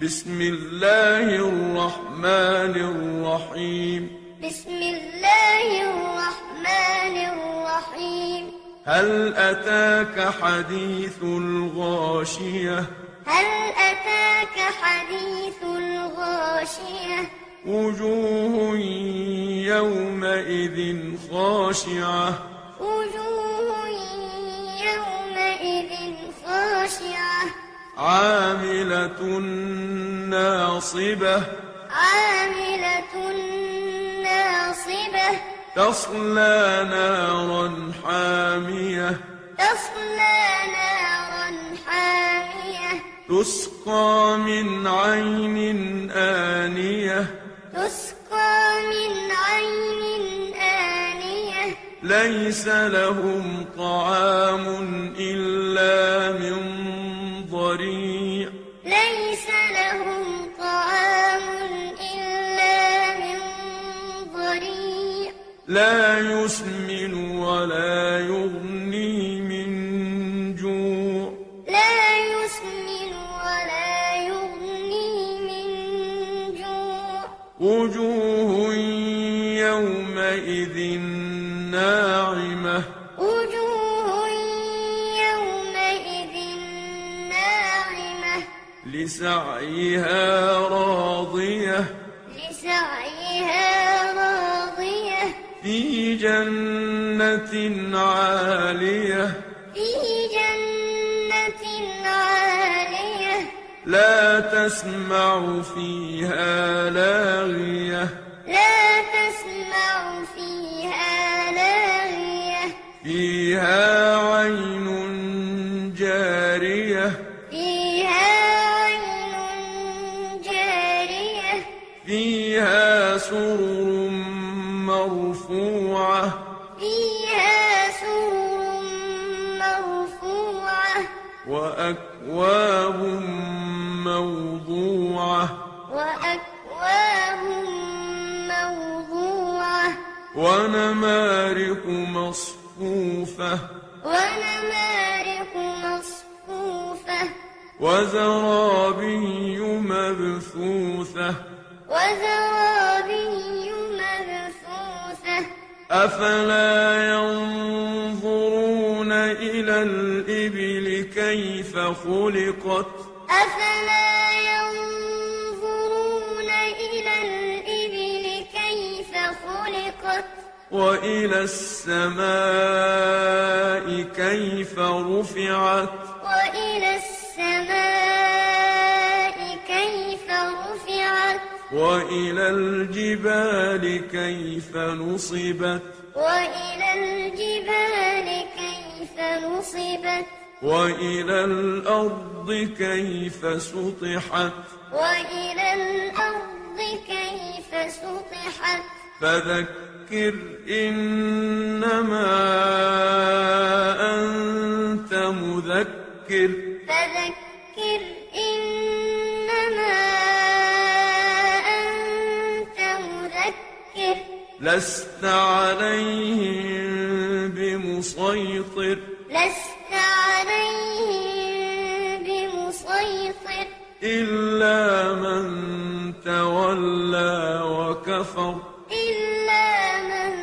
بسم الله الرحمن الرحيم بسم الله الرحمن الرحيم هل أتاك حديث الغاشية هل أتاك حديث الغاشية وجوه يومئذ خاشعة وجوه يومئذ خاشعة عاملة ناصبة عاملة ناصبة تصلى نارا حامية تصلى نارا حامية تسقى من عين آنية تسقى من عين آنية ليس لهم طعام إلا من ضريع ليس لهم طعام إلا من ضريع لا يسمن ولا يغني من جوع لا يسمن ولا يغني من جوع وجوه يومئذ ناعمة وجوه يومئذ ناعمة لسعيها راضية لسعيها راضية في جنة عالية في جنة عالية لا تسمع فيها لاغية لا تسمع فيها لاغية فيها عين جارية فيها عين جارية فيها سرر مرفوعة فيها سور مرفوعة وأكواب موضوعة وأكواب موضوعة ونمارق مصفوفة ونمارق مصفوفة وزرابي مبثوثة وزرابي مبثوثة أفلا ينظرون إلى الإبل كيف خلقت أفلا ينظرون إلى الإبل كيف خلقت وإلى السماء كيف رفعت وإلى السماء كيف رفعت وإلى الجبال كيف نصبت وإلى الجبال كيف نصبت وإلى الأرض كيف سطحت وإلى الأرض كيف سطحت فذكر إنما أنت مذكر فذكر إنما أنت مذكر لست عليهم بمسيطر لست عليهم بمسيطر إلا من تولى وكفر إلا من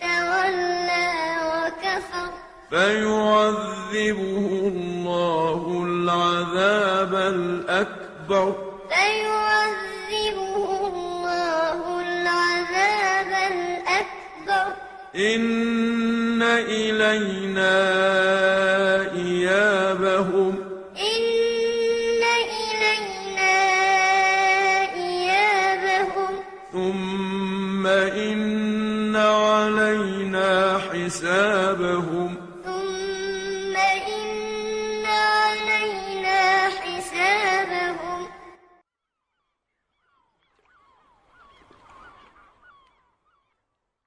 تولى وكفر فيعذبه الله العذاب الأكبر فيعذبه الله العذاب الأكبر إن إلينا إيابهم إن إلينا إيابهم ثم إن علينا حسابهم